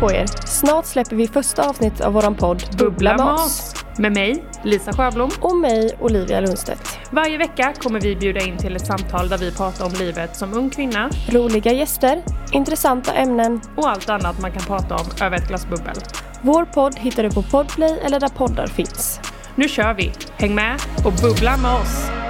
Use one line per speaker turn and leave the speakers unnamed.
på er. Snart släpper vi första avsnittet av våran podd Bubbla med oss.
Med mig, Lisa Sjöblom.
Och mig, Olivia Lundstedt.
Varje vecka kommer vi bjuda in till ett samtal där vi pratar om livet som ung kvinna
Roliga gäster, intressanta ämnen.
och allt annat man kan prata om över ett glas bubbel.
Vår podd hittar du på Podplay eller där poddar finns.
Nu kör vi! Häng med och bubbla med oss!